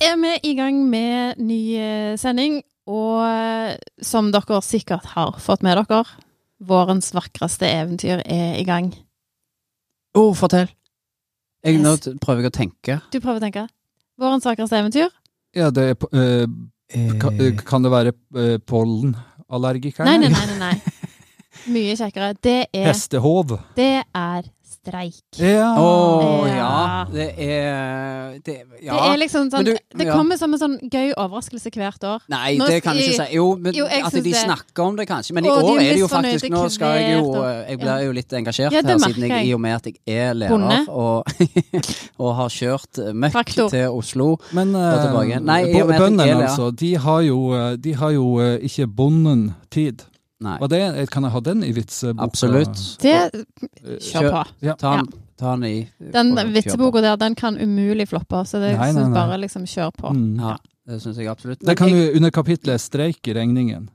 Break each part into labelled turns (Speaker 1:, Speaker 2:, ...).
Speaker 1: er vi i gang med ny eh, sending, og eh, som dere sikkert har fått med dere, vårens vakreste eventyr er i gang.
Speaker 2: Å, fortell. Jeg, nå
Speaker 1: Yes.
Speaker 2: t- prøver jeg å tenke.
Speaker 1: Du prøver å tenke. Vårens vakreste eventyr?
Speaker 3: Ja, det er, på- eh, kan, eh, kan det være eh, pollenallergiker?
Speaker 1: Nei, nei, nei. nei, nei. Mye kjekkere. Det er,
Speaker 3: Hestehov.
Speaker 1: det er streik.
Speaker 3: Ja.
Speaker 2: Å
Speaker 1: Ah, Ja.
Speaker 2: ja. Det er det,
Speaker 1: Det
Speaker 2: Ja.
Speaker 1: er liksom sånn,
Speaker 2: Men du-
Speaker 1: det
Speaker 2: ja.
Speaker 1: kommer som en sånn gøy overraskelse hvert år.
Speaker 2: Nei,
Speaker 1: Nå
Speaker 2: det kan jeg
Speaker 1: s-
Speaker 2: ikke si. Jo, men,
Speaker 1: Jo, jeg
Speaker 2: at
Speaker 1: syns
Speaker 2: de
Speaker 1: det.
Speaker 2: snakker om det, kanskje. Men i
Speaker 1: Og de
Speaker 2: år
Speaker 1: er
Speaker 2: er det jo
Speaker 1: misfornøyde
Speaker 2: faktisk Nå skal jeg jo eh,
Speaker 1: hvert
Speaker 2: Jeg blir jo litt
Speaker 1: Ja,
Speaker 2: engasjert
Speaker 1: det
Speaker 2: her,
Speaker 1: merker
Speaker 2: siden jeg
Speaker 1: jeg.
Speaker 2: i og med at jeg er
Speaker 1: Bonde.
Speaker 2: lærer og, og har kjørt eh, møkk
Speaker 1: Traktor.
Speaker 2: til Oslo.
Speaker 3: Men
Speaker 2: Og tilbake igjen. Nei,
Speaker 3: eh,
Speaker 2: i og med at jeg
Speaker 3: bøndene,
Speaker 2: er det, ja.
Speaker 3: altså, de har jo, eh, de har jo eh, ikke bonden tid.
Speaker 2: Nei,
Speaker 3: Og det, eh, kan jeg ha den i vitseboka?
Speaker 2: absolutt.
Speaker 1: Det
Speaker 2: Kjør.
Speaker 1: Kjør på.
Speaker 2: Ta den,
Speaker 1: Ja.
Speaker 2: ta den i
Speaker 1: Den
Speaker 2: og kjør på.
Speaker 1: vitseboka der, den kan umulig floppe, så det
Speaker 3: Nei, nei,
Speaker 1: så
Speaker 3: nei.
Speaker 1: bare liksom kjør på.
Speaker 3: Mm.
Speaker 2: Ja, det syns jeg absolutt.
Speaker 3: Det kan
Speaker 2: Men jeg-
Speaker 3: du under kapitlet 'Streik i regningen'.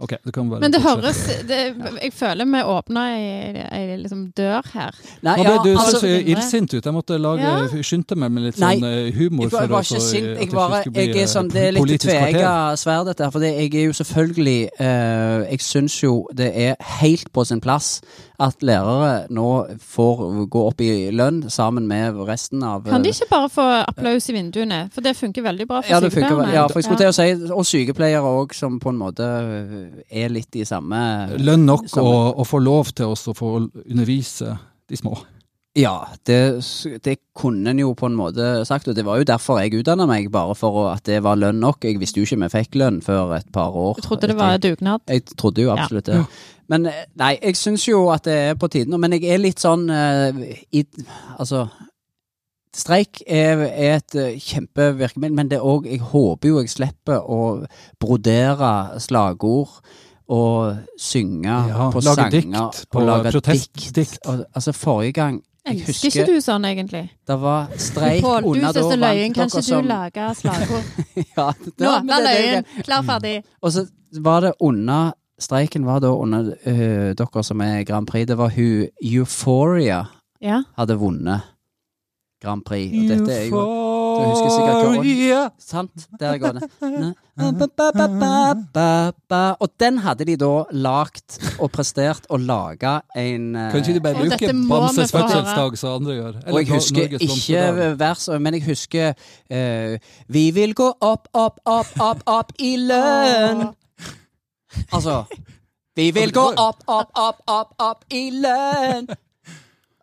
Speaker 3: Ok, du kan bare
Speaker 1: Men det
Speaker 3: fortsette.
Speaker 1: høres det, Jeg føler vi åpna ei ei liksom dør her.
Speaker 2: Nei,
Speaker 3: Nå ble
Speaker 2: ja,
Speaker 3: du
Speaker 2: altså-
Speaker 3: så så
Speaker 1: mindre.
Speaker 3: illsint ut. Jeg måtte lage,
Speaker 1: Ja.
Speaker 3: skynde meg med litt
Speaker 2: Nei,
Speaker 3: sånn eh, humor.
Speaker 2: Jeg var, jeg
Speaker 3: for
Speaker 2: var
Speaker 3: å så,
Speaker 2: ikke sint.
Speaker 3: eh, at
Speaker 2: Jeg,
Speaker 3: ikke
Speaker 2: bare,
Speaker 3: skulle bli,
Speaker 2: jeg er sånn,
Speaker 3: eh,
Speaker 2: det er litt
Speaker 3: politisk
Speaker 2: tveegga
Speaker 3: kvarter.
Speaker 2: sverd, dette. her, For det, jeg er jo selvfølgelig eh, Jeg syns jo det er helt på sin plass at lærere nå får gå opp i lønn sammen med resten av
Speaker 1: Kan de
Speaker 2: eh,
Speaker 1: ikke bare få applaus i vinduene? For det funker veldig bra for
Speaker 2: ja, det funker,
Speaker 1: sykepleierne.
Speaker 2: vel. ja, for jeg skulle til å si Og sykepleiere òg, som på en måte eh, er litt i samme
Speaker 3: Lønn nok
Speaker 2: Sammen.
Speaker 3: og, og få lov til oss å få undervise de små.
Speaker 2: Ja, det, s- det kunne en jo på en måte sagt, og det var jo derfor jeg utdanna meg, bare for å- at det var lønn nok. Jeg visste jo ikke vi fikk lønn før et par år.
Speaker 1: Du trodde det
Speaker 2: etter.
Speaker 1: var dugnad?
Speaker 2: Jeg trodde jo
Speaker 1: Ja.
Speaker 2: absolutt det. Men eh, nei, jeg syns jo at det er på tide nå. Men jeg er litt sånn eh, i, Altså Streik er, er et eh, kjempevirkemiddel, men det er òg Jeg håper jo jeg slipper å brodere slagord og synge
Speaker 3: Ja,
Speaker 2: på
Speaker 3: lage
Speaker 2: sanger.
Speaker 3: dikt på
Speaker 2: og lage
Speaker 3: protestdikt.
Speaker 2: dikt. Og, altså, forrige gang jeg
Speaker 1: Elsker ikke
Speaker 2: husker
Speaker 1: du sånn, egentlig?
Speaker 2: det var streik
Speaker 1: Pål, du
Speaker 2: under
Speaker 1: synes det er løyen.
Speaker 2: dere
Speaker 1: Kan ikke
Speaker 2: som-
Speaker 1: du lage slagord?
Speaker 2: Ja,
Speaker 1: Nå, vær
Speaker 2: men det er det jeg-
Speaker 1: løyen. Klar, ferdig.
Speaker 2: Og så var det under Streiken var da under øh, dere som er Grand Prix. Det var hun Euphoria
Speaker 1: Ja.
Speaker 2: hadde vunnet Grand Prix. Og dette er jo Du husker sikkert hva Sant? Der går det. Na, ba, ba, ba, ba, ba, ba. Og den hadde de da lagd og prestert og laga en øh,
Speaker 3: Kan ikke de bare
Speaker 1: Og dette
Speaker 3: bruke
Speaker 1: må
Speaker 3: Bamses
Speaker 1: vi få høre.
Speaker 3: fødselsdag som andre gjør? Eller
Speaker 2: Og jeg
Speaker 3: Nor-
Speaker 2: husker
Speaker 3: Norges blomsterdag.
Speaker 2: ikke vers, men jeg husker eh, Vi vil gå opp, opp, opp, opp, opp i lønn. Altså Vi vil gå opp, opp, opp, opp, opp i lønn.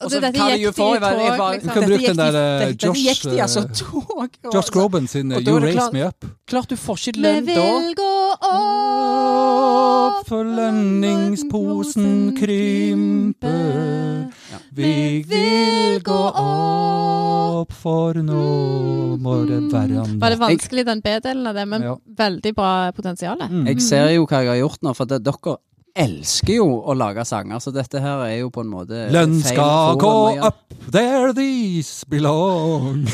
Speaker 1: Og
Speaker 2: Og
Speaker 1: så
Speaker 2: så
Speaker 1: dette
Speaker 2: tar
Speaker 1: gikk
Speaker 2: de
Speaker 1: de i
Speaker 2: Euphoria, jeg
Speaker 1: tog,
Speaker 2: var-
Speaker 1: liksom.
Speaker 3: Du kan
Speaker 2: Dette
Speaker 3: bruke den
Speaker 2: gikk de-
Speaker 3: der, eh,
Speaker 2: dette gikk de
Speaker 3: Josh,
Speaker 2: altså
Speaker 3: eh,
Speaker 2: tog. og-
Speaker 3: Josh Groban sin eh,
Speaker 2: Og da er
Speaker 3: You
Speaker 2: det
Speaker 3: Raise
Speaker 2: klart-
Speaker 3: Me Up.
Speaker 2: Klart du får ikke
Speaker 1: Vi
Speaker 2: lønn da.
Speaker 1: vil gå opp
Speaker 3: for lønningsposen krymper. Vi vil gå opp, for nå må det være
Speaker 1: Mm. Var det
Speaker 3: natt.
Speaker 1: vanskelig, den B-delen av det, men
Speaker 3: Ja.
Speaker 1: veldig bra potensial.
Speaker 3: Mm.
Speaker 2: Jeg ser jo hva jeg har gjort nå, for det, dere elsker jo å lage sanger, så dette her er jo på en måte
Speaker 3: Lønn
Speaker 2: feil
Speaker 3: skal
Speaker 2: forum
Speaker 3: gå
Speaker 2: å gjøre.
Speaker 3: up, there these belong.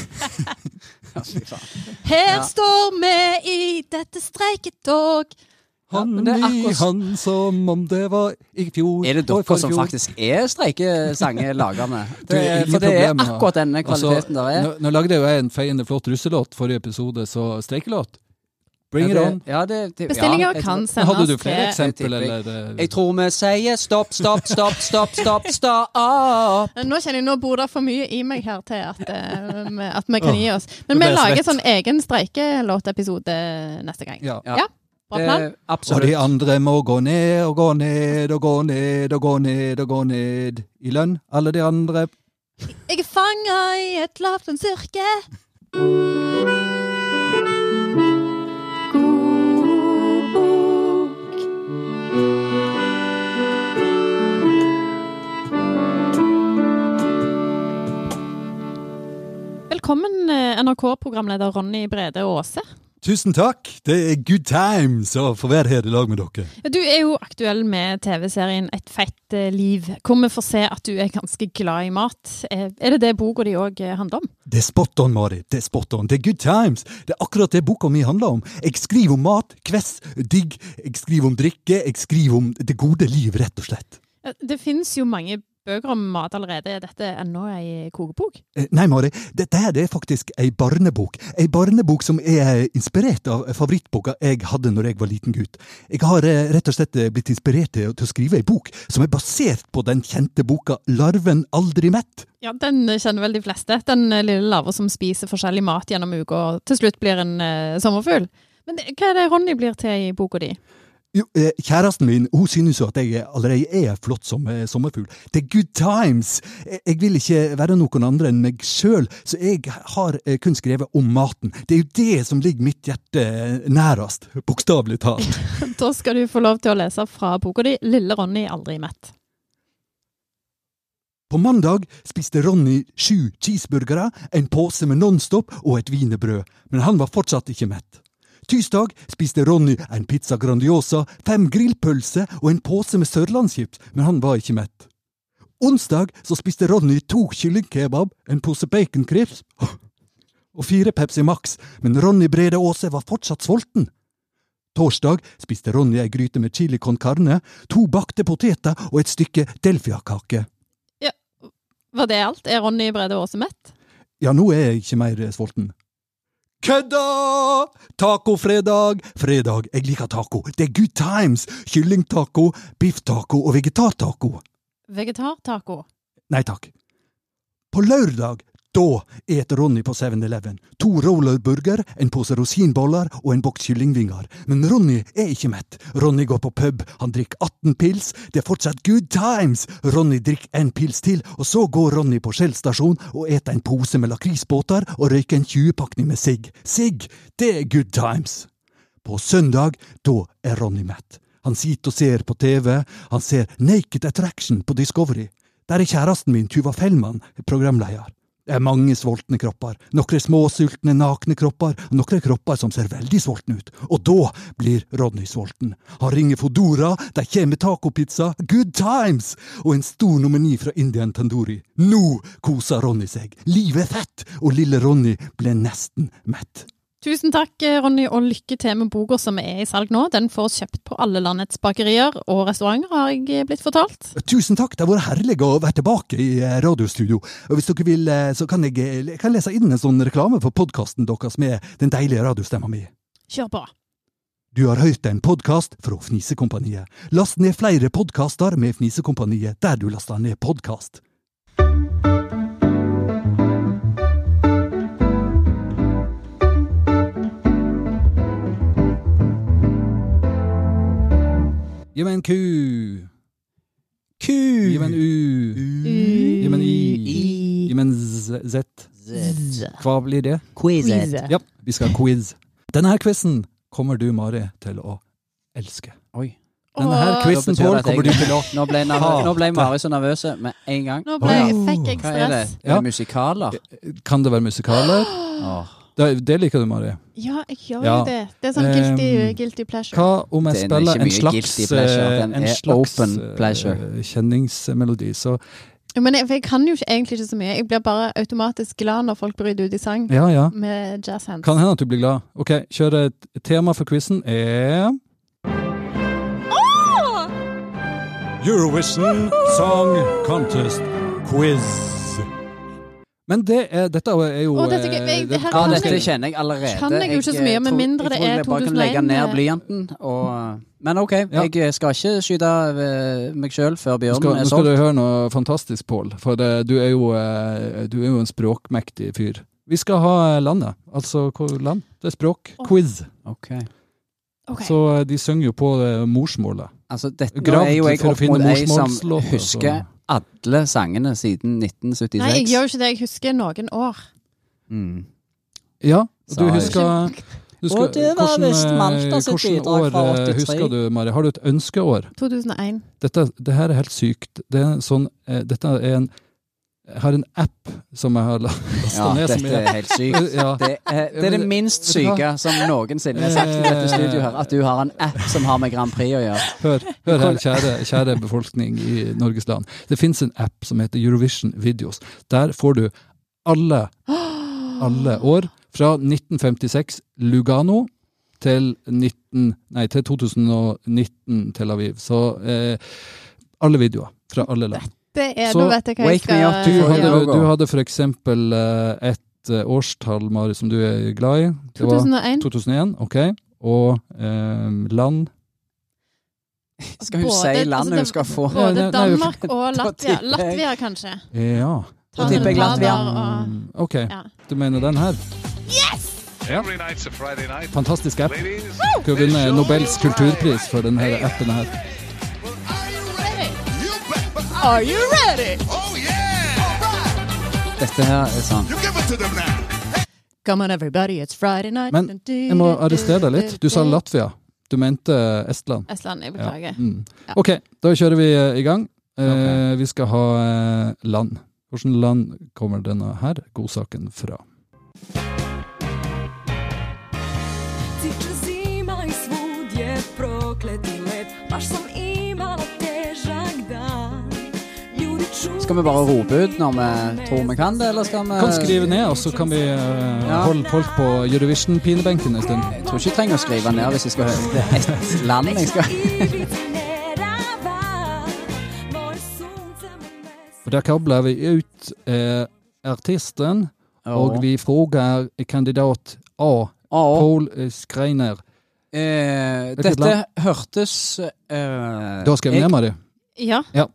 Speaker 2: Ja, fy faen.
Speaker 1: Her
Speaker 2: Ja.
Speaker 1: står vi i dette streiketog.
Speaker 2: Ja,
Speaker 3: Han
Speaker 2: men det er
Speaker 3: i
Speaker 2: akkurat-
Speaker 3: han som om det var i fjor
Speaker 2: Er det
Speaker 3: og
Speaker 2: dere som
Speaker 3: forfjor.
Speaker 2: faktisk er streikesangelagerne?
Speaker 3: Du,
Speaker 2: Det er-
Speaker 3: ingen
Speaker 2: For det er
Speaker 3: problem, ja.
Speaker 2: akkurat denne kvaliteten der er.
Speaker 3: Altså, nå, nå lagde jo jeg en feiende flott russelåt forrige episode, så streikelåt. Bring
Speaker 2: Ja,
Speaker 3: it
Speaker 2: det-
Speaker 3: on.
Speaker 2: ja, det- det- ja,
Speaker 1: Bestillinger
Speaker 2: jeg
Speaker 1: kan
Speaker 2: tror-
Speaker 3: Hadde
Speaker 1: sendes
Speaker 3: du flere
Speaker 1: til
Speaker 2: Jeg
Speaker 3: eksempel,
Speaker 2: tipper-
Speaker 3: eller? eh,
Speaker 2: Jeg tror vi sier stopp, stopp, stopp, stopp, stopp, stopp.
Speaker 1: Nå kjenner jeg, nå bor det for mye i meg her til at, eh, vi- at vi kan gi oss. Men
Speaker 3: nå
Speaker 1: vi
Speaker 3: ble jeg
Speaker 1: lager
Speaker 3: svett.
Speaker 1: sånn egen streikelåtepisode neste gang.
Speaker 3: Ja. eh,
Speaker 1: Ja. Bra plan.
Speaker 2: Det-
Speaker 3: Og de
Speaker 2: Eh, Absolutt.
Speaker 3: andre må gå ned og gå ned og gå ned og gå ned og gå ned i lønn. Alle de andre.
Speaker 1: Jeg er fanga i et lavtlønnsyrke. Velkommen, eh, NRK-programleder Ronny Brede Aase.
Speaker 3: Tusen takk. Det er good times å få være her i lag med dere.
Speaker 1: Ja, Du er jo aktuell med TV-serien Et fett eh, liv, hvor vi får se at du er ganske glad i mat. Eh, Er det det boka di òg handler om?
Speaker 3: Det er spot on, Mari. Det er spot on. Det er good times. Det er akkurat det boka mi handler om. Jeg skriver om mat, kvess, digg. Jeg skriver om drikke. Jeg skriver om det gode liv, rett og slett.
Speaker 1: Ja, Det finnes jo mange bøker om mat allerede. Er dette ennå ei kokebok?
Speaker 3: Eh, Nei, Mari, dette her det er faktisk ei barnebok. Ei barnebok som er inspirert av favorittboka jeg hadde når jeg var liten gutt. Jeg har eh, rett og slett eh, blitt inspirert til, til å skrive ei bok som er basert på den kjente boka Larven aldri mett.
Speaker 1: Ja, den eh, kjenner vel de fleste. Den eh, lille larva som spiser forskjellig mat gjennom uka og til slutt blir en eh, sommerfugl. Men det, hva er det Ronny blir til i boka di?
Speaker 3: Jo, eh, kjæresten min hun synes jo at jeg allerede er flott som eh, sommerfugl. Det er good times! Eh, Jeg vil ikke være noen andre enn meg sjøl, så jeg har eh, kun skrevet om maten. Det er jo det som ligger mitt hjerte eh, nærest, bokstavelig talt.
Speaker 1: Da skal du få lov til å lese fra boka di 'Lille Ronny aldri mett'.
Speaker 3: På mandag spiste Ronny sju cheeseburgere, en pose med Nonstop og et wienerbrød, men han var fortsatt ikke mett. Tirsdag spiste Ronny en pizza Grandiosa, fem grillpølser og en pose med sørlandschips, men han var ikke mett. Onsdag så spiste Ronny to kyllingkebab, en pose baconcreps og fire Pepsi Max, men Ronny Brede Aase var fortsatt sulten. Torsdag spiste Ronny ei gryte med chili con carne, to bakte poteter og et stykke delfiakake.
Speaker 1: Var det alt? Er Ronny Brede Aase mett?
Speaker 3: Ja, nå er jeg ikke mer eh, sulten. Kødda! Tacofredag! Fredag, jeg liker taco. Det er good times! Kyllingtaco, bifftaco og vegetartaco.
Speaker 1: Vegetartaco.
Speaker 3: Nei takk. På lørdag, da et Ronny på 7-Eleven. To rollerburger, en pose rosinboller og en boks kyllingvinger. Men Ronny er ikke mett. Ronny går på pub, han drikker 18 pils. Det er fortsatt good times! Ronny drikker en pils til, og så går Ronny på Shell stasjon og eter en pose med lakrisbåter og røyker en 20-pakning med sigg. Sigg, det er good times! På søndag, da er Ronny mett. Han sitter og ser på TV, han ser Naked Attraction på Discovery. Der er kjæresten min, Tuva Fellmann, programleder. Det er mange sultne kropper, noen småsultne, nakne kropper, og noen kropper som ser veldig sultne ut, og da blir Ronny sulten. Han ringer Fodora, de kommer med tacopizza, good times, og en stor nomini fra Indian Tandori. Nå koser Ronny seg, livet er fett, og lille Ronny ble nesten mett.
Speaker 1: Tusen takk, eh, Ronny, og lykke til med boka som er i salg nå. Den får kjøpt på alle landets bakerier og restauranter, har jeg eh, blitt fortalt.
Speaker 3: Tusen takk, det har vært herlig å være tilbake i eh, radiostudio. Og hvis dere vil, eh, så kan jeg, eh, jeg kan lese inn en sånn reklame for podkasten deres med den deilige radiostemma mi.
Speaker 1: Kjør på.
Speaker 3: Du har hørt en podkast fra Fnisekompaniet. Last ned flere podkaster med Fnisekompaniet der du laster ned podkast.
Speaker 2: Gi meg en ku. Ku. Gi meg en u. Gi meg en i.
Speaker 3: Gi meg en z. z. Hva blir det?
Speaker 2: Quiz.
Speaker 1: Quiz.
Speaker 3: Ja, vi skal ha quiz. Denne her quizen kommer du, Mari, til å elske.
Speaker 2: Oi.
Speaker 3: Denne her
Speaker 1: Åh.
Speaker 3: quizen,
Speaker 2: Da betyr
Speaker 3: Pål,
Speaker 2: det at jeg-
Speaker 3: kommer du til å
Speaker 2: Nå ble, nervø-
Speaker 3: Hate.
Speaker 2: nå ble Mari så nervøs med en gang.
Speaker 1: Nå ble,
Speaker 3: Å, ja.
Speaker 1: fikk jeg
Speaker 2: Hva er det?
Speaker 1: stress.
Speaker 2: Er
Speaker 3: Ja.
Speaker 2: det musikaler?
Speaker 3: Kan det være musikaler?
Speaker 2: Åh,
Speaker 3: Det, det liker du, Mari.
Speaker 1: Ja, jeg gjør jo
Speaker 3: Ja.
Speaker 1: det. Det er sånn guilty,
Speaker 3: Um,
Speaker 1: guilty pleasure.
Speaker 3: Hva om jeg
Speaker 2: Den er
Speaker 3: spiller
Speaker 2: ikke
Speaker 3: en
Speaker 2: mye
Speaker 3: slags,
Speaker 2: guilty pleasure,
Speaker 3: eh,
Speaker 2: den
Speaker 3: en
Speaker 2: er
Speaker 3: slags
Speaker 2: open
Speaker 3: eh,
Speaker 2: pleasure.
Speaker 3: kjenningsmelodi? Så
Speaker 1: Men jeg, for jeg kan jo ikke, egentlig ikke så mye. Jeg blir bare automatisk glad når folk bryter ut i sang
Speaker 3: ja, ja.
Speaker 1: med jazz hands.
Speaker 3: Kan hende at du blir glad. Ok, kjør et tema for quizen E. er Eurovision Song Contest Quiz. Men det er, dette er jo
Speaker 1: Å, dette er gøy.
Speaker 3: eh,
Speaker 1: Men
Speaker 3: det-
Speaker 1: her
Speaker 2: Ja,
Speaker 1: Kan
Speaker 2: dette
Speaker 1: jeg-
Speaker 2: kjenner jeg allerede.
Speaker 1: Kan jeg jo ikke så mye, med
Speaker 2: tror-
Speaker 1: mindre det
Speaker 2: Jeg
Speaker 1: er
Speaker 2: tror jeg bare kan legge
Speaker 1: 2001,
Speaker 2: ned
Speaker 1: eh.
Speaker 2: blyanten. Og, men OK,
Speaker 3: Ja.
Speaker 2: jeg skal ikke skyte eh, meg sjøl før
Speaker 3: Nå skal,
Speaker 2: bjørnen
Speaker 3: nå
Speaker 2: er
Speaker 3: skal du
Speaker 2: solgt.
Speaker 3: høre noe fantastisk, Pål. For det, du, er jo, eh, du er jo en språkmektig fyr. Vi skal ha eh, landet. Altså hvor land? Det er språk.
Speaker 1: Å.
Speaker 3: Quiz.
Speaker 2: Ok.
Speaker 1: Ok.
Speaker 3: Så eh, de synger jo på eh, morsmålet.
Speaker 2: Altså, dette nå
Speaker 3: Gravd
Speaker 2: er jo jeg
Speaker 3: for å
Speaker 2: opp
Speaker 3: finne
Speaker 2: mot ei som
Speaker 3: morsmålslåter, altså.
Speaker 2: husker alle sangene siden 1976.
Speaker 1: Nei, jeg gjør jo ikke det. Jeg husker noen år.
Speaker 2: Mm.
Speaker 3: Ja, og du
Speaker 2: Sa jeg.
Speaker 3: husker Husker,
Speaker 2: Og det var
Speaker 3: hvordan, eh,
Speaker 2: visst Malta sitt
Speaker 3: hvordan
Speaker 2: bidrag
Speaker 3: år,
Speaker 2: fra
Speaker 3: eh,
Speaker 2: 83.
Speaker 3: Husker du, Mari? Har du et ønskeår?
Speaker 1: 2001.
Speaker 3: Dette, det her er helt sykt. Det er en sånn, eh, dette er en Jeg har en app som jeg har lasta
Speaker 2: Ja,
Speaker 3: ned. som
Speaker 2: dette er
Speaker 3: jeg,
Speaker 2: helt sykt.
Speaker 3: ja.
Speaker 2: Det er, det er det minst
Speaker 3: Vet du hva? Eh.
Speaker 2: syke som noensinne er sagt i dette studioet her. At du har en app som har med Grand Prix å gjøre.
Speaker 3: Hør, hør her, kjære, kjære befolkning i Norges land. Det fins en app som heter Eurovision Videos. Der får du alle,
Speaker 2: Ah.
Speaker 3: alle år fra 1956 Lugano til, 19, nei, til 2019 Tel Aviv. Så eh, alle videoer fra alle land.
Speaker 1: Det er,
Speaker 3: Så,
Speaker 1: nå vet jeg hva jeg
Speaker 2: wake me
Speaker 1: skal
Speaker 2: up
Speaker 3: Du
Speaker 2: Ja.
Speaker 3: hadde,
Speaker 2: Ja.
Speaker 3: du hadde for eksempel eh, et eh, årstall, Mari, som du er glad i. Det var
Speaker 1: 2001.
Speaker 3: 2001, ok. Og eh, land.
Speaker 2: Skal hun
Speaker 1: Både-
Speaker 2: si
Speaker 1: altså,
Speaker 2: landet
Speaker 1: det-
Speaker 2: hun skal få?
Speaker 3: Ja,
Speaker 1: Både
Speaker 3: det- nei, jo,
Speaker 1: Danmark og
Speaker 2: da
Speaker 1: Latvia.
Speaker 2: tipper jeg-
Speaker 1: Latvia, kanskje.
Speaker 3: Ja.
Speaker 1: Ta
Speaker 2: tipper jeg
Speaker 1: noen
Speaker 2: Latvia.
Speaker 1: blader og-
Speaker 3: Mm, Ok,
Speaker 1: ja.
Speaker 3: du mener den her. Ja.
Speaker 4: Every night's a Friday night.
Speaker 3: Fantastisk app.
Speaker 4: Ladies,
Speaker 3: Du har vunnet Nobels kulturpris for denne appen her.
Speaker 4: you bet, but I-
Speaker 1: Are you ready?
Speaker 4: oh yeah!
Speaker 2: Dette her er sånn.
Speaker 4: You give it to them now.
Speaker 1: Come on everybody, it's Friday night.
Speaker 3: Men Jeg må arrestere deg litt. Du sa Latvia. Du mente eh, Estland.
Speaker 1: Estland, jeg
Speaker 3: Ja.
Speaker 1: beklager.
Speaker 3: Mm.
Speaker 1: Ja.
Speaker 3: Ok, da kjører vi eh, i gang. Eh,
Speaker 2: Ok.
Speaker 3: Vi skal ha eh, land. Hvilket land kommer denne her godsaken fra?
Speaker 5: Ti će zima i svud je prokleti let Baš sam imala težak dan Ljudi čude
Speaker 2: Skal vi bare rope ut når vi tror vi kan det, eller skal vi
Speaker 3: Kan skrive ned, og så kan vi eh,
Speaker 2: Ja.
Speaker 3: holde folk på Eurovision-pinebenken en stund.
Speaker 2: Jeg tror ikke jeg trenger å skrive ned hvis jeg skal høre det er ett land jeg skal
Speaker 5: Ivice nerava Moje sunce me
Speaker 3: Og Der kabler vi ut eh, artisten, og vi spør kandidat A.
Speaker 2: Å,
Speaker 3: Paul eh, Skreiner.
Speaker 2: eh, Dette hørtes eh,
Speaker 3: Da skriver vi ned,
Speaker 2: jeg,
Speaker 3: Mari.
Speaker 1: Ja,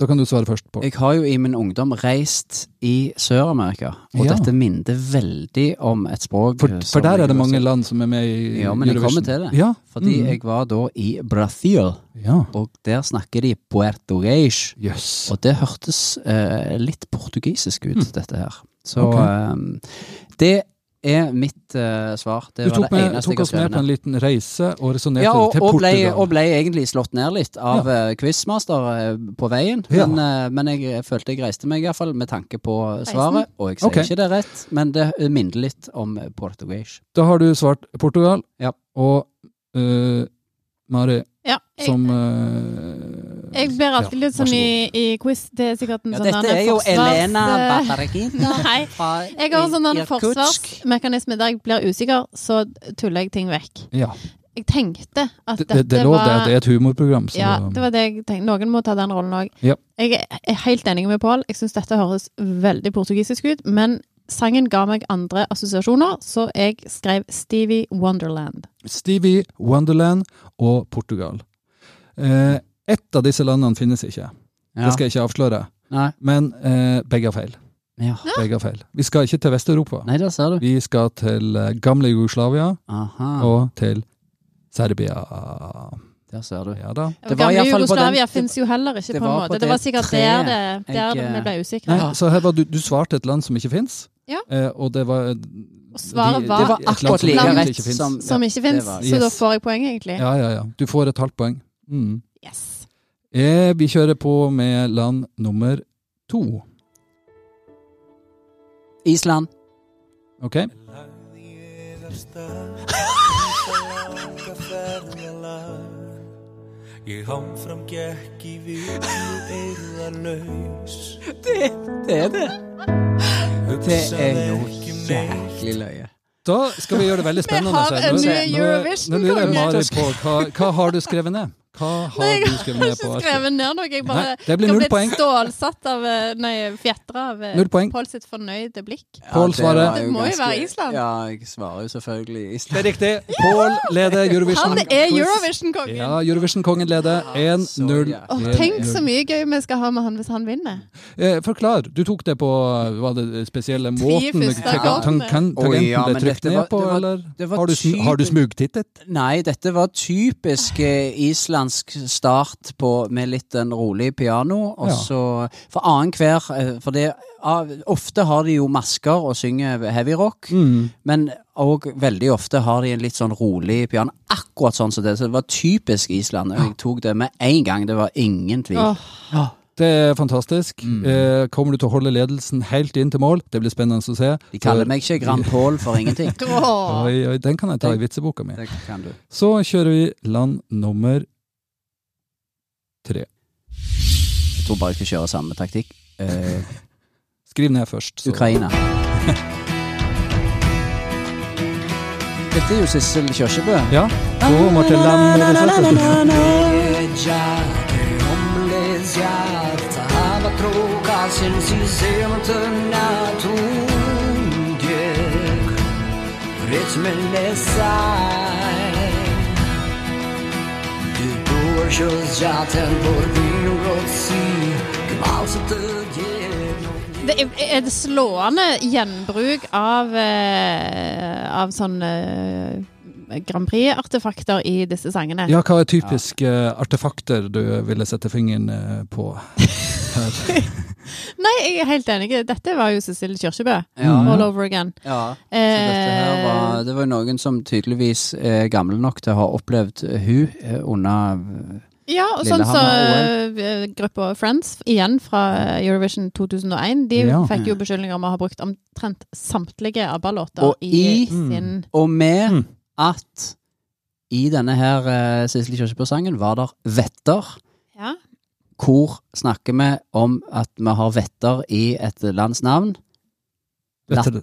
Speaker 3: Da kan du svare først, Paul.
Speaker 2: jeg har jo i min ungdom reist i Sør-Amerika, og
Speaker 3: Ja.
Speaker 2: dette minner veldig om et språk
Speaker 3: For,
Speaker 2: som
Speaker 3: for der er
Speaker 2: jeg
Speaker 3: det mange
Speaker 2: også-
Speaker 3: land som er med i
Speaker 2: altså. Ja, men jeg
Speaker 3: Eurovision.
Speaker 2: kommer til det.
Speaker 3: Ja,
Speaker 2: Fordi
Speaker 3: Mm.
Speaker 2: jeg var da i Brasil,
Speaker 3: ja.
Speaker 2: og der snakker de puertorgeis.
Speaker 3: Jøss.
Speaker 2: Og det hørtes eh, litt portugisisk ut, dette her. Så
Speaker 3: Mm. Ok.
Speaker 2: eh, det er mitt eh, svar. Det
Speaker 3: Du
Speaker 2: var
Speaker 3: tok,
Speaker 2: det
Speaker 3: med,
Speaker 2: eneste
Speaker 3: tok
Speaker 2: jeg har
Speaker 3: oss med
Speaker 2: skrevet
Speaker 3: på en
Speaker 2: ned.
Speaker 3: liten reise og resonnerte
Speaker 2: Ja, og,
Speaker 3: til
Speaker 2: og, ble,
Speaker 3: Portugal.
Speaker 2: og ble egentlig slått ned litt av eh, quizmaster eh, på veien.
Speaker 3: Ja.
Speaker 2: Men, eh, men jeg følte jeg reiste meg, iallfall med tanke på svaret. Og jeg sier
Speaker 3: Ok.
Speaker 2: ikke det rett, men det eh, minner litt om portugis.
Speaker 3: Da har du svart Portugal.
Speaker 2: Ja.
Speaker 3: Og eh, Mari,
Speaker 1: ja. Jeg,
Speaker 3: som eh,
Speaker 1: jeg blir alltid
Speaker 3: ja,
Speaker 1: litt sånn
Speaker 3: vær så
Speaker 1: i,
Speaker 3: god.
Speaker 1: i quiz. Det er sikkert en
Speaker 2: Ja,
Speaker 1: sånn
Speaker 2: dette
Speaker 1: annen
Speaker 2: er jo
Speaker 1: forsvars-
Speaker 2: Elena
Speaker 1: eh,
Speaker 2: Batarekina.
Speaker 1: Nei. Jeg har en sånn annen forsvarsmekanisme der jeg blir usikker, så tuller jeg ting vekk.
Speaker 3: Ja.
Speaker 1: Jeg tenkte at
Speaker 3: Det,
Speaker 1: dette
Speaker 3: det, det er lov, det.
Speaker 1: var
Speaker 3: Det er et humorprogram. Så,
Speaker 1: Ja, det var det jeg tenkte. Noen må ta den rollen òg.
Speaker 3: Ja.
Speaker 1: Jeg er helt enig med Pål. Jeg syns dette høres veldig portugisisk ut, men sangen ga meg andre assosiasjoner, så jeg skrev Stevie Wonderland.
Speaker 3: Stevie, Wonderland og Portugal. Eh, ett av disse landene finnes ikke.
Speaker 2: Ja.
Speaker 3: Det skal jeg ikke avsløre.
Speaker 2: Nei.
Speaker 3: Men eh, begge har feil.
Speaker 2: Ja.
Speaker 3: Begge har feil. Vi skal ikke til Vest-Europa.
Speaker 2: Nei, der ser du.
Speaker 3: Vi skal til eh, gamle Jugoslavia
Speaker 2: Aha,
Speaker 3: og til Serbia.
Speaker 2: der ser du.
Speaker 3: Ja da.
Speaker 2: Det var
Speaker 1: Gamle
Speaker 2: i hvert fall på den-
Speaker 1: Jugoslavia fins jo heller ikke,
Speaker 2: det
Speaker 1: på en
Speaker 2: var
Speaker 1: måte.
Speaker 2: på det
Speaker 1: Det var sikkert
Speaker 2: treet
Speaker 1: der, det, der
Speaker 2: jeg,
Speaker 1: vi ble usikre.
Speaker 3: Nei, så her var du, du svarte et land som ikke fins,
Speaker 1: Ja.
Speaker 3: eh, og det var
Speaker 1: Og svaret
Speaker 3: de-
Speaker 1: var
Speaker 2: Det var
Speaker 3: Et land
Speaker 2: akkurat
Speaker 3: som
Speaker 2: like
Speaker 1: egentlig
Speaker 2: rett
Speaker 3: ikke finnes.
Speaker 2: som
Speaker 1: som
Speaker 2: ja,
Speaker 1: ikke
Speaker 2: det
Speaker 1: fins,
Speaker 2: var-
Speaker 1: så da
Speaker 3: Yes.
Speaker 1: får jeg poeng, egentlig.
Speaker 3: Ja, ja, ja. Du får et halvt poeng. Mm.
Speaker 1: Yes.
Speaker 3: Eh, vi kjører på med land nummer to.
Speaker 2: Island.
Speaker 3: OK?
Speaker 6: Ég hamfram gekk í vinnu eirðarlaus
Speaker 2: Det er det. Det er jo
Speaker 6: Hugsaði ekki um neitt.
Speaker 2: jæklig løye.
Speaker 3: Da skal vi gjøre det veldig spennende.
Speaker 1: har
Speaker 3: Svein.
Speaker 1: en
Speaker 3: Nå-
Speaker 1: ny
Speaker 3: nå er- Nå lurer jeg
Speaker 1: Eurovision-konge.
Speaker 3: Mari på hva, hva har du skrevet ned? Hva har
Speaker 1: Nei, jeg
Speaker 3: du
Speaker 1: Jeg
Speaker 3: skrevet ned
Speaker 1: har
Speaker 3: på?
Speaker 1: ikke
Speaker 3: Astrid?
Speaker 1: skrevet ned noe, jeg bare
Speaker 3: Nei, det blir
Speaker 1: jeg
Speaker 3: null
Speaker 1: ble
Speaker 3: poeng.
Speaker 1: stålsatt av eh, Nei, fjetra av eh,
Speaker 3: Null poeng.
Speaker 1: Pål sitt fornøyde blikk.
Speaker 3: Pål
Speaker 2: det
Speaker 3: svarer.
Speaker 2: var
Speaker 1: Det må jo
Speaker 2: ganske-
Speaker 1: være Island.
Speaker 2: Ja, jeg svarer jo selvfølgelig
Speaker 3: Det
Speaker 2: Island.
Speaker 3: er riktig. Pål leder Eurovision.
Speaker 1: Han er Eurovision-kongen!
Speaker 3: Ja, Eurovision-kongen leder
Speaker 2: så
Speaker 3: 1-0.
Speaker 2: jæklig.
Speaker 1: Åh,
Speaker 3: til
Speaker 2: eh,
Speaker 1: tenk så
Speaker 3: Eurovision.
Speaker 1: mye gøy vi skal ha med han hvis han vinner.
Speaker 3: Eh, forklar. Du tok det på var det spesielle måten
Speaker 1: første
Speaker 3: ta- ta-
Speaker 1: akkordene.
Speaker 3: kan-
Speaker 2: Oi, ja,
Speaker 3: Tangenten ble
Speaker 2: men
Speaker 3: trykt
Speaker 2: dette
Speaker 3: ned
Speaker 2: var-
Speaker 3: på,
Speaker 2: det var-
Speaker 3: eller?
Speaker 2: det var
Speaker 3: Har du, sm
Speaker 2: typisk-
Speaker 3: har du smugtittet?
Speaker 2: Nei, dette var typisk eh, islandsk start på, med litt en rolig piano. Og
Speaker 3: Ja.
Speaker 2: så For annenhver eh, For det av, Ofte har de jo masker og synger heavy rock.
Speaker 3: Mm.
Speaker 2: Men òg veldig ofte har de en litt sånn rolig piano. Akkurat sånn som det. Så det var typisk Island. og Jeg tok det med én gang. Det var ingen tvil.
Speaker 1: Åh,
Speaker 3: Det er fantastisk.
Speaker 2: Mm.
Speaker 3: Eh, kommer du til å holde ledelsen helt inn til mål? Det blir spennende å se.
Speaker 2: De kaller meg ikke Grand Paul for ingenting.
Speaker 1: åh.
Speaker 3: Oi, oi, den kan jeg ta i vitseboka mi.
Speaker 2: Det kan du.
Speaker 3: Så kjører vi land nummer tre.
Speaker 2: Jeg tror bare jeg skal kjøre samme taktikk. Eh,
Speaker 3: Skriv ned først. så-
Speaker 2: Ukraina. Dette er jo Sissel Kjørsebø.
Speaker 3: Ja. Og Martin Land.
Speaker 2: Lam
Speaker 7: króka sinns í semtuna tungek Rytmen er sæt Du bor kjøs jaten por byen grått si Gvalset djev
Speaker 1: Det er, er det slående gjenbruk av, eh, av sånne eh, Grand Prix-artefakter i disse sangene?
Speaker 3: Ja, hva er typiske eh, artefakter du ville sette fingeren eh, på? Her.
Speaker 1: Nei, jeg er helt enig. Dette var jo Cecilie Kyrkjebø.
Speaker 2: Ja,
Speaker 1: All
Speaker 2: ja.
Speaker 1: over again. Eh,
Speaker 2: ja. Så dette her var, det var jo noen som tydeligvis er gamle nok til å ha opplevd eh, hun eh, under
Speaker 1: Ja, og sånn så
Speaker 2: Lillehammer-OL.
Speaker 1: eh, gruppa Friends, igjen fra eh, Eurovision 2001, de
Speaker 3: Ja.
Speaker 1: fikk jo beskyldninger om å ha brukt omtrent samtlige ABBA-låter
Speaker 2: Og
Speaker 1: i
Speaker 2: i-
Speaker 1: sin
Speaker 2: Og med
Speaker 3: Mm.
Speaker 2: at i denne her eh, Sissel Kyrkjebø-sangen var der vetter.
Speaker 1: Ja.
Speaker 2: Hvor snakker vi om at vi har vetter i et lands navn?
Speaker 3: Vet du det?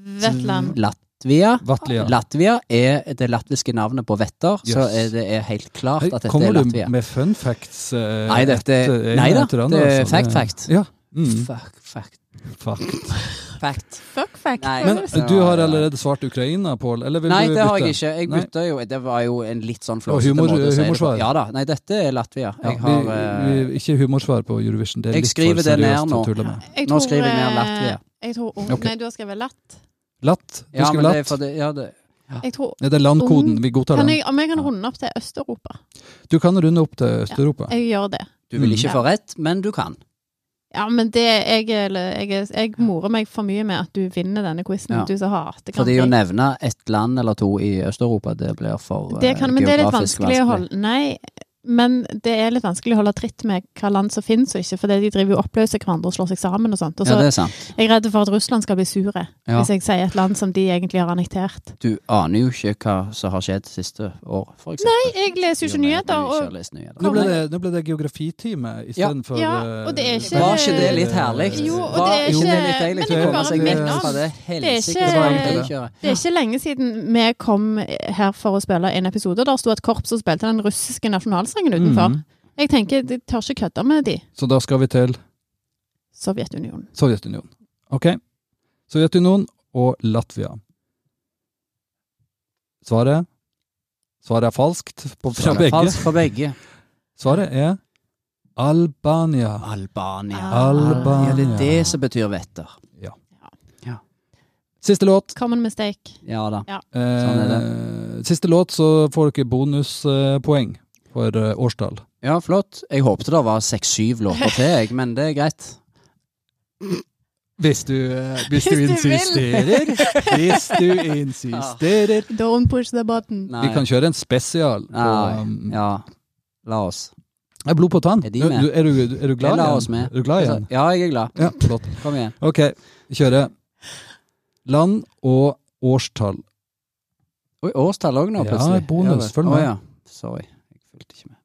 Speaker 1: Vetland.
Speaker 2: Latvia.
Speaker 3: Vatlia.
Speaker 2: Latvia er det latviske navnet på vetter,
Speaker 3: Yes.
Speaker 2: så er det er helt klart
Speaker 3: Hei,
Speaker 2: at dette er
Speaker 3: Kommer du
Speaker 2: Latvia.
Speaker 3: med fun facts? eh,
Speaker 2: Nei, dette-
Speaker 3: etter en
Speaker 2: nei da,
Speaker 3: etter andre,
Speaker 2: det er
Speaker 3: altså?
Speaker 2: fact, fact.
Speaker 3: Ja. Mm,
Speaker 2: Fuck, fact.
Speaker 3: fact.
Speaker 2: fact.
Speaker 1: Fuck fact.
Speaker 2: Nei,
Speaker 3: Men
Speaker 2: så-
Speaker 3: du har allerede svart Ukraina, Pål? Eller vil
Speaker 2: Nei,
Speaker 3: du
Speaker 2: det har
Speaker 3: bytte?
Speaker 2: jeg ikke. Jeg
Speaker 3: Nei.
Speaker 2: bytta jo Det var jo en litt sånn
Speaker 3: Og
Speaker 2: flåsete
Speaker 3: humor-
Speaker 2: måte å si det på.
Speaker 3: humorsvar.
Speaker 2: Ja da. Nei, dette er Latvia.
Speaker 3: Ja,
Speaker 2: Jeg har
Speaker 3: vi,
Speaker 2: eh,
Speaker 3: vi, ikke humorsvar på Eurovision. Det er
Speaker 2: Jeg
Speaker 3: litt
Speaker 2: skriver
Speaker 3: for
Speaker 2: det ned
Speaker 3: seriøst å
Speaker 2: nå.
Speaker 3: tulle med.
Speaker 1: Jeg
Speaker 2: Nå skriver jeg ned
Speaker 1: eh,
Speaker 2: Latvia.
Speaker 1: Jeg tror ung-
Speaker 3: Ok.
Speaker 1: Nei, du har skrevet latt.
Speaker 3: Latt? Du
Speaker 2: ja, men det
Speaker 3: skriver
Speaker 2: er
Speaker 3: latt?
Speaker 2: for det, ja, det,
Speaker 1: Jeg tror
Speaker 3: Ja, det er landkoden. Vi
Speaker 2: Sånn.
Speaker 3: godtar
Speaker 1: kan
Speaker 3: den.
Speaker 1: jeg, Om jeg kan runde opp til Øst-Europa?
Speaker 3: Du kan runde opp til Øst-Europa.
Speaker 1: Jeg gjør det.
Speaker 2: du vil ikke
Speaker 1: Mm.
Speaker 2: få rett, men du kan.
Speaker 1: Ja, men det jeg, jeg, jeg, jeg morer meg for mye med at du vinner denne quizen.
Speaker 2: Ja.
Speaker 1: Du som hater
Speaker 2: Fordi å
Speaker 1: Grand Prix.
Speaker 2: nevne et land eller to i Øst-Europa, det blir for eh,
Speaker 1: Det kan, men det er litt
Speaker 2: geografisk
Speaker 1: vanskelig å holde Nei, men det er litt vanskelig å holde tritt med hva land som finnes og ikke, fordi de driver jo og oppløser hverandre og slår seg sammen og sånt. Og
Speaker 2: Ja,
Speaker 1: så
Speaker 2: det er sant.
Speaker 1: er jeg redd for at Russland skal bli sure
Speaker 2: Ja.
Speaker 1: hvis jeg sier et land som de egentlig har annektert.
Speaker 2: Du aner jo ikke hva som har skjedd siste år, for eksempel.
Speaker 1: Nei, jeg leser jo ikke nyheter,
Speaker 2: og
Speaker 1: og
Speaker 3: Nå ble det, nå ble det geografitime istedenfor
Speaker 1: Ja, og det er ikke-
Speaker 2: Var ikke det litt herlig?
Speaker 1: Jo, og
Speaker 2: Var
Speaker 1: det er
Speaker 2: ikke
Speaker 1: ikke-
Speaker 2: det litt deilig
Speaker 1: men
Speaker 2: å
Speaker 3: jeg
Speaker 2: komme
Speaker 3: bare
Speaker 2: seg
Speaker 3: minner
Speaker 2: vekk
Speaker 3: om-
Speaker 2: fra det
Speaker 1: Det er
Speaker 2: helsike
Speaker 1: ikke-
Speaker 2: svarbilkjøret?
Speaker 1: det er ikke lenge siden vi kom her for å spille en episode, og der sto et korps og spilte den russiske nasjonalsangen
Speaker 2: Mm.
Speaker 1: utenfor.
Speaker 3: Mhm.
Speaker 1: Jeg tenker, de tør ikke kødde med de.
Speaker 3: Så da skal vi til
Speaker 1: Sovjetunionen.
Speaker 3: Sovjetunionen. Ok. Sovjetunionen og Latvia. Svaret Svaret er falskt på, fra begge.
Speaker 2: Falskt for begge.
Speaker 3: Svaret er Albania.
Speaker 2: Albania.
Speaker 3: Albania.
Speaker 2: Ja, det er det som betyr vetter.
Speaker 3: Siste låt.
Speaker 1: Common mistake.
Speaker 2: Ja da.
Speaker 3: Eh, siste låt, så får dere bonuspoeng for eh, årstall.
Speaker 2: Ja, flott. Jeg håpte det var seks-syv låter til, jeg, men det er greit.
Speaker 3: Hvis du,
Speaker 1: Hvis du vil. insisterer.
Speaker 3: Hvis du insisterer.
Speaker 1: Don't push the button.
Speaker 2: Nei.
Speaker 3: Vi kan kjøre en spesial. På,
Speaker 2: Nei.
Speaker 3: um,
Speaker 2: Ja. La oss.
Speaker 3: Er blod på tann?
Speaker 2: Er de med?
Speaker 3: Du- Er du, er du glad
Speaker 2: Jeg la
Speaker 3: igjen?
Speaker 2: oss med. Altså-
Speaker 3: Er du glad igjen?
Speaker 2: Ja, jeg er glad.
Speaker 3: Ja, flott.
Speaker 2: Kom igjen.
Speaker 3: Ok, vi kjører. Land og årstall.
Speaker 2: Oi, årstall òg nå,
Speaker 3: Ja,
Speaker 2: plutselig.
Speaker 3: bonus.
Speaker 2: vel.
Speaker 3: Følg
Speaker 2: Å,
Speaker 3: med.
Speaker 2: ja. Sorry. Jeg fulgte ikke med.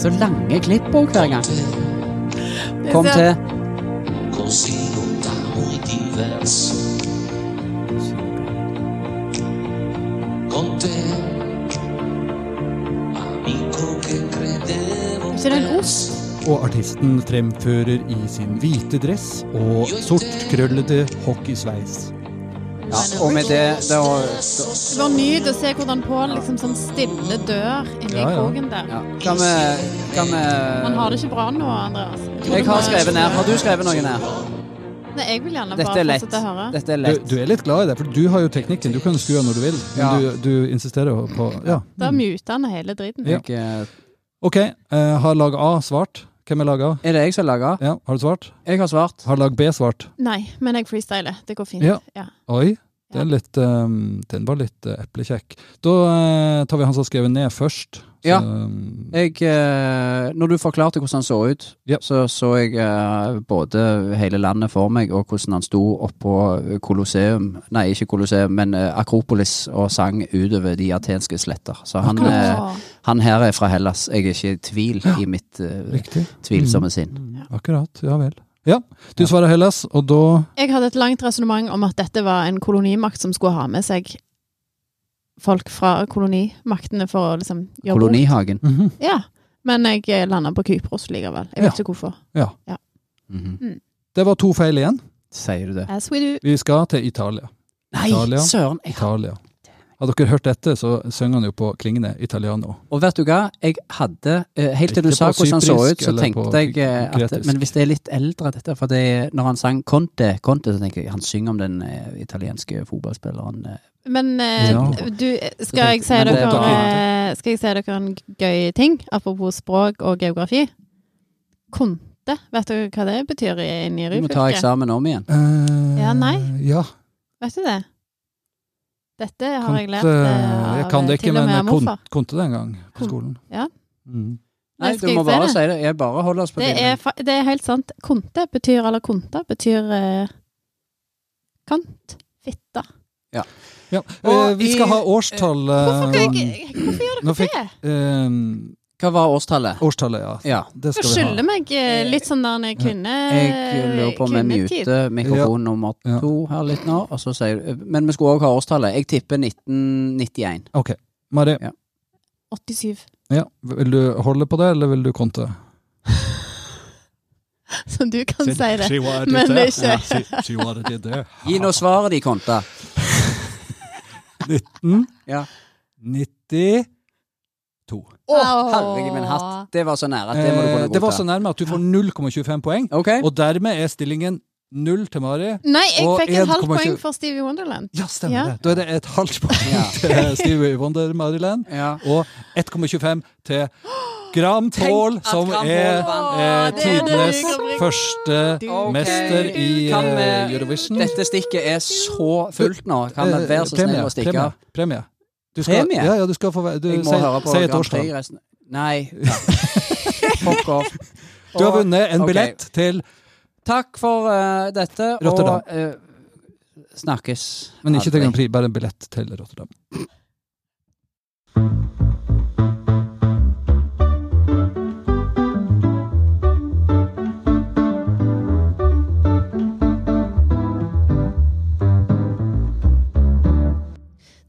Speaker 2: Så lange klipp òg hver gang. Kom til
Speaker 1: Ikke det en ost?
Speaker 3: Og artisten fremfører i sin hvite dress og sort krøllete hockeysveis.
Speaker 2: ja, Og med det, det var,
Speaker 1: Det var nyt å se hvordan Pål liksom sånn stille dør inni
Speaker 3: Ja, ja.
Speaker 1: kroken der.
Speaker 2: ja. Kan vi Kan vi
Speaker 1: Man har det ikke bra nå, Andreas.
Speaker 2: Jeg har skrevet ned. Har du skrevet noe ned?
Speaker 1: Nei, jeg vil gjerne
Speaker 2: Dette
Speaker 1: bare
Speaker 2: er lett.
Speaker 1: fortsette å høre.
Speaker 2: Dette er
Speaker 3: Du,
Speaker 2: lett.
Speaker 3: du er litt glad i det, for du har jo teknikken. Du kan skru av når du vil, men
Speaker 2: Ja.
Speaker 3: du, du insisterer jo på Ja.
Speaker 1: Da muter han hele driten.
Speaker 3: Ja.
Speaker 2: Jeg, eh,
Speaker 3: OK, eh, har lag A svart? Hvem er lag A?
Speaker 2: er det jeg som lager?
Speaker 3: Ja, har du svart?
Speaker 2: Jeg har svart.
Speaker 3: Har lag B svart?
Speaker 1: Nei, men jeg freestyler. Det går fint.
Speaker 3: Ja.
Speaker 1: Ja.
Speaker 3: Oi, den, litt, eh, den var litt eh, eplekjekk. Da eh, tar vi han som har skrevet ned, først. Så,
Speaker 2: Ja.
Speaker 3: eh,
Speaker 2: Jeg, eh, når du forklarte hvordan han så ut,
Speaker 3: Ja.
Speaker 2: så så jeg eh, både hele landet for meg, og hvordan han sto oppå Colosseum Nei, ikke Colosseum, men eh, Akropolis og sang utover de atenske sletter. Så han, eh,
Speaker 1: Åh.
Speaker 2: han her er fra Hellas. Jeg er ikke i tvil i mitt eh,
Speaker 3: Riktig.
Speaker 2: tvilsomme sinn.
Speaker 3: Akkurat, ja vel. Ja, du svarer Hellas, og da
Speaker 1: Jeg hadde et langt resonnement om at dette var en kolonimakt som skulle ha med seg folk fra kolonimaktene for å liksom jobbe
Speaker 2: Kolonihagen.
Speaker 3: Mhm.
Speaker 1: Ja. Men jeg landa på Kypros likevel. Jeg vet ikke hvorfor.
Speaker 2: Mhm.
Speaker 3: Det var to feil igjen.
Speaker 2: Sier du det?
Speaker 1: As we do.
Speaker 3: Vi skal til Italia.
Speaker 2: Nei,
Speaker 3: Italia.
Speaker 2: søren! Jeg har...
Speaker 3: Italia. Har dere hørt dette, så synger han jo på klingende italiano.
Speaker 2: Og vet du hva, jeg hadde eh, Helt til du
Speaker 3: Ikke
Speaker 2: sa
Speaker 3: på
Speaker 2: hvordan han så ut,
Speaker 3: cyprisk
Speaker 2: så
Speaker 3: eller på
Speaker 2: tenkte jeg eh, at
Speaker 3: gretisk.
Speaker 2: Men hvis det er litt eldre, dette For det, når han sang Conte, Conte, så tenker jeg han synger om den eh, italienske fotballspilleren eh,
Speaker 1: Men eh,
Speaker 3: Ja.
Speaker 1: du, skal jeg, si
Speaker 2: Men
Speaker 1: dere,
Speaker 2: det er
Speaker 3: bra.
Speaker 1: eh, skal jeg si dere en gøy ting? Apropos språk og geografi. Konte. Vet dere hva det betyr i i
Speaker 2: Du må ta
Speaker 1: Nyrøyfylket?
Speaker 2: eksamen om igjen.
Speaker 3: Eh,
Speaker 1: Ja, nei.
Speaker 3: Ja.
Speaker 1: Vet du det? Dette har jeg lært
Speaker 3: Konte-
Speaker 1: eh, av
Speaker 3: jeg kan det ikke,
Speaker 1: til og
Speaker 3: men
Speaker 1: med av
Speaker 3: kon-
Speaker 1: morfar.
Speaker 3: konte det en gang på
Speaker 1: Kon-
Speaker 3: skolen.
Speaker 1: ja.
Speaker 3: Mm.
Speaker 1: Nei,
Speaker 2: Nei, du
Speaker 1: skal jeg
Speaker 2: må
Speaker 1: si
Speaker 2: bare
Speaker 1: det?
Speaker 2: si det. Jeg bare holder oss på
Speaker 1: Det er,
Speaker 2: dine.
Speaker 1: fa- det er helt sant. Konte betyr, eller konta betyr eh, kant. Fitte.
Speaker 3: Ja.
Speaker 2: Og
Speaker 3: eh, vi skal
Speaker 2: i-
Speaker 3: ha årstall eh,
Speaker 2: Ah.
Speaker 1: Hvorfor, kan jeg, hvorfor gjør
Speaker 3: Nå
Speaker 1: dere
Speaker 3: fikk-
Speaker 1: det?
Speaker 3: eh,
Speaker 2: Hva var årstallet?
Speaker 3: Årstallet, ja.
Speaker 2: Ja.
Speaker 3: Det
Speaker 1: Dere
Speaker 3: skal vi ha.
Speaker 1: skylder meg eh, litt sånn der når jeg kunne
Speaker 2: Jeg
Speaker 1: Eh,
Speaker 2: lurer på om vi
Speaker 1: kvinnetid.
Speaker 2: muter mikrofon nummer
Speaker 3: Ja.
Speaker 2: to her litt nå. Og så sier, men vi skulle òg ha årstallet. Jeg tipper 1991.
Speaker 3: Ok. Mari,
Speaker 1: 87.
Speaker 3: ja. vil du holde på det, eller vil du konte?
Speaker 1: Så du kan si det.
Speaker 8: Si hva er
Speaker 1: Men
Speaker 8: dette?
Speaker 1: ikke.
Speaker 8: Ja, si, si hva er dette?
Speaker 2: Gi nå svaret de Konta.
Speaker 3: 19?
Speaker 2: Ja.
Speaker 3: 90
Speaker 2: Å,
Speaker 1: Åh.
Speaker 2: herregud, min hatt. Det var så nære at det må du
Speaker 3: Eh,
Speaker 2: kunne
Speaker 3: Det var så
Speaker 2: godta.
Speaker 3: nærme at du får 0,25 poeng,
Speaker 2: Ok,
Speaker 3: og dermed er stillingen null til Mari.
Speaker 1: Nei, jeg
Speaker 3: Og
Speaker 1: fikk et halvt
Speaker 3: 1,20.
Speaker 1: poeng for Stevie Wonderland.
Speaker 3: Ja, stemmer
Speaker 1: Ja.
Speaker 3: det. Da er det et halvt poeng
Speaker 2: Ja.
Speaker 3: til Stevie Wonder Maryland,
Speaker 2: ja.
Speaker 3: og 1,25 til Gram Paul,
Speaker 2: at
Speaker 3: som
Speaker 2: Gram Paul
Speaker 3: er
Speaker 2: vant.
Speaker 3: eh,
Speaker 1: Åh, det er
Speaker 3: tidenes
Speaker 1: det du kan bringe.
Speaker 3: første
Speaker 2: Ok.
Speaker 3: mester i
Speaker 2: Kan vi-
Speaker 3: eh, Eurovision.
Speaker 2: Dette stikket er så fullt nå. Kan vi
Speaker 3: Eh,
Speaker 2: være så
Speaker 3: premie,
Speaker 2: snill å stikke
Speaker 3: premie,
Speaker 2: av?
Speaker 3: premie. Du skal,
Speaker 2: Premie?
Speaker 3: Ja, ja, du skal få være- du,
Speaker 2: Jeg må
Speaker 3: si,
Speaker 2: høre på
Speaker 3: si et
Speaker 2: Grand
Speaker 3: årstall.
Speaker 2: Prix resten. Nei. Fuck off.
Speaker 3: Du har vunnet en
Speaker 2: Ok.
Speaker 3: billett til
Speaker 2: Takk for eh, dette,
Speaker 3: Rotterdam.
Speaker 2: og eh, snakkes.
Speaker 3: Men ikke til
Speaker 2: aldri.
Speaker 3: Grand Prix, bare en billett til Rotterdam.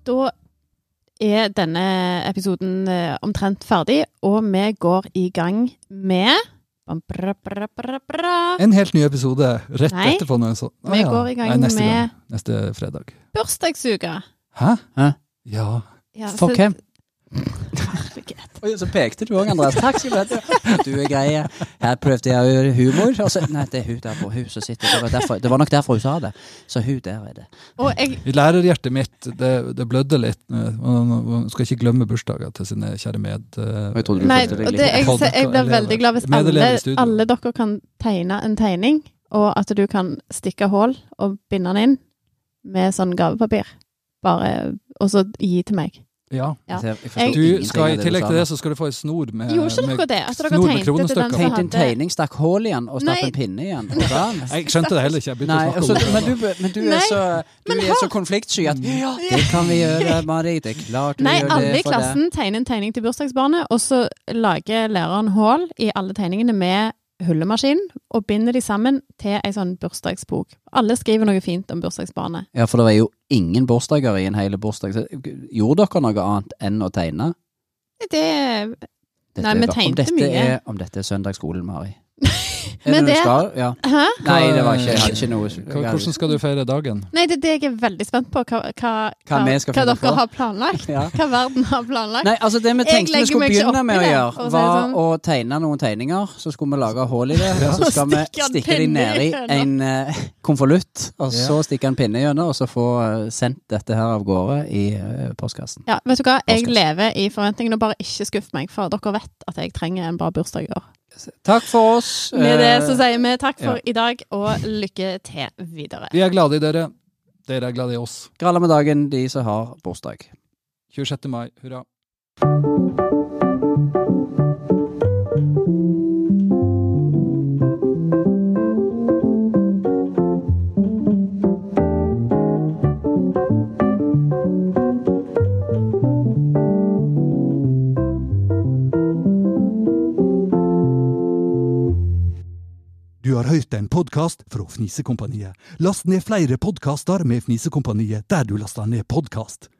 Speaker 1: Da er denne episoden eh, omtrent ferdig, og vi går i gang med Bam, bra, bra, bra, bra.
Speaker 3: En helt ny episode rett
Speaker 1: Nei.
Speaker 3: etterpå. Når jeg så.
Speaker 1: Vi går i gang
Speaker 3: Nei, neste
Speaker 1: med-
Speaker 3: gang. Neste fredag.
Speaker 1: Bursdagsuke.
Speaker 3: Hæ?
Speaker 2: Hæ?
Speaker 3: Ja.
Speaker 1: Ja,
Speaker 2: For
Speaker 1: så-
Speaker 2: hvem?
Speaker 1: Herregud.
Speaker 2: Oi, så pekte du òg, Andreas. Takk skal du ha. Du er grei. Her prøvde jeg å gjøre humor. Og så, nei, det er hun der på hun som sitter. Det var, derfor, det var nok derfor hun sa det. Så hun der er det.
Speaker 1: Og jeg,
Speaker 3: I lærerhjertet mitt, det, det blødde litt. Man- Man man skal ikke glemme bursdager til sine kjære med... eh,
Speaker 2: Jeg trodde du
Speaker 1: nei,
Speaker 2: følte deg
Speaker 1: og
Speaker 2: litt-
Speaker 1: det, jeg,
Speaker 3: Podkast-
Speaker 1: jeg blir veldig glad hvis alle,
Speaker 3: Medelever i studio.
Speaker 1: alle dere kan tegne en tegning, og at du kan stikke hull og binde den inn med sånn gavepapir. Bare, og så gi til meg.
Speaker 3: Ja.
Speaker 1: Ja.
Speaker 2: Jeg forstår
Speaker 1: Jeg-
Speaker 3: Du
Speaker 2: ingenting av
Speaker 3: skal I
Speaker 2: du
Speaker 3: tillegg
Speaker 2: sa
Speaker 3: til
Speaker 2: nå.
Speaker 3: det så skal du få en snor
Speaker 2: Eh,
Speaker 3: med
Speaker 1: Gjorde ikke
Speaker 3: med-
Speaker 1: dere det? At dere
Speaker 3: snor med
Speaker 1: tegnte til den
Speaker 3: kronestykker.
Speaker 1: som
Speaker 2: Tegnte en
Speaker 1: hadde
Speaker 2: tegning, stakk hull i den og stappet
Speaker 1: Nei.
Speaker 2: en pinne i den. Og da-
Speaker 3: Jeg skjønte det heller ikke. Jeg begynte
Speaker 2: Nei,
Speaker 3: å
Speaker 2: og så-
Speaker 3: snakke om
Speaker 2: men
Speaker 3: det.
Speaker 2: du, men du er
Speaker 1: Nei,
Speaker 2: så, du
Speaker 1: men
Speaker 2: er
Speaker 1: hør.
Speaker 2: så konfliktsky at ja, det kan vi gjøre, Mari. Det er klart vi
Speaker 1: Nei,
Speaker 2: gjør
Speaker 1: alle i
Speaker 2: det for deg.
Speaker 1: klassen tegner en tegning til bursdagsbarnet, og så lager læreren hull i alle tegningene med hullemaskin, og binder de sammen til ei sånn bursdagsbok. Alle skriver noe fint om bursdagsbarnet.
Speaker 2: Ja, for det var jo ingen bursdager i en hel bursdag. Så, Gjorde dere noe annet enn å tegne?
Speaker 1: Det Nei,
Speaker 2: er
Speaker 1: vi
Speaker 2: bare- om
Speaker 1: tegnte
Speaker 2: dette
Speaker 1: mye.
Speaker 2: Er, om dette er søndagsskolen, Mari. Er
Speaker 1: Men
Speaker 2: det,
Speaker 1: det-
Speaker 2: du skal? Ja.
Speaker 1: Hæ?
Speaker 2: Nei, det var ikke, jeg hadde ikke noe
Speaker 3: Hva- Hvordan skal du feire dagen?
Speaker 1: Nei, det er det jeg er veldig spent på. Hva, hva, hva,
Speaker 2: vi skal finne
Speaker 1: dere
Speaker 2: på.
Speaker 1: har planlagt.
Speaker 2: Ja.
Speaker 1: Hva verden har planlagt.
Speaker 2: Nei, altså det vi
Speaker 1: Jeg
Speaker 2: tenkte vi
Speaker 1: legger
Speaker 2: skulle
Speaker 1: meg ikke
Speaker 2: begynne
Speaker 1: opp
Speaker 2: med
Speaker 1: i
Speaker 2: å
Speaker 1: det,
Speaker 2: gjøre,
Speaker 1: for å si det
Speaker 2: var
Speaker 1: sånn.
Speaker 2: å tegne noen tegninger. Så skulle vi lage hull i det, og så skal vi
Speaker 1: Stikke en
Speaker 2: stikke de
Speaker 1: pinne i
Speaker 2: nedi
Speaker 1: høna.
Speaker 2: en eh, konvolutt. Og
Speaker 3: Ja.
Speaker 2: så stikke en pinne gjennom, og så få eh, sendt dette her av gårde i eh, postkassen.
Speaker 1: Ja, vet du hva? Jeg
Speaker 2: Postkasse.
Speaker 1: lever i forventningene, og bare ikke skuff meg, for dere vet at jeg trenger en bra bursdag i år.
Speaker 2: Takk for oss.
Speaker 1: Med det så
Speaker 2: Eh,
Speaker 1: sier vi takk for
Speaker 2: ja.
Speaker 1: i dag, og lykke til videre.
Speaker 3: Vi er glade i dere. Dere er glade i oss.
Speaker 2: Gralla med dagen, de som har bursdag.
Speaker 3: 26. mai. Hurra.
Speaker 9: Du har hørt en podkast fra Fnisekompaniet. Last ned flere podkaster med Fnisekompaniet der du laster ned podkast.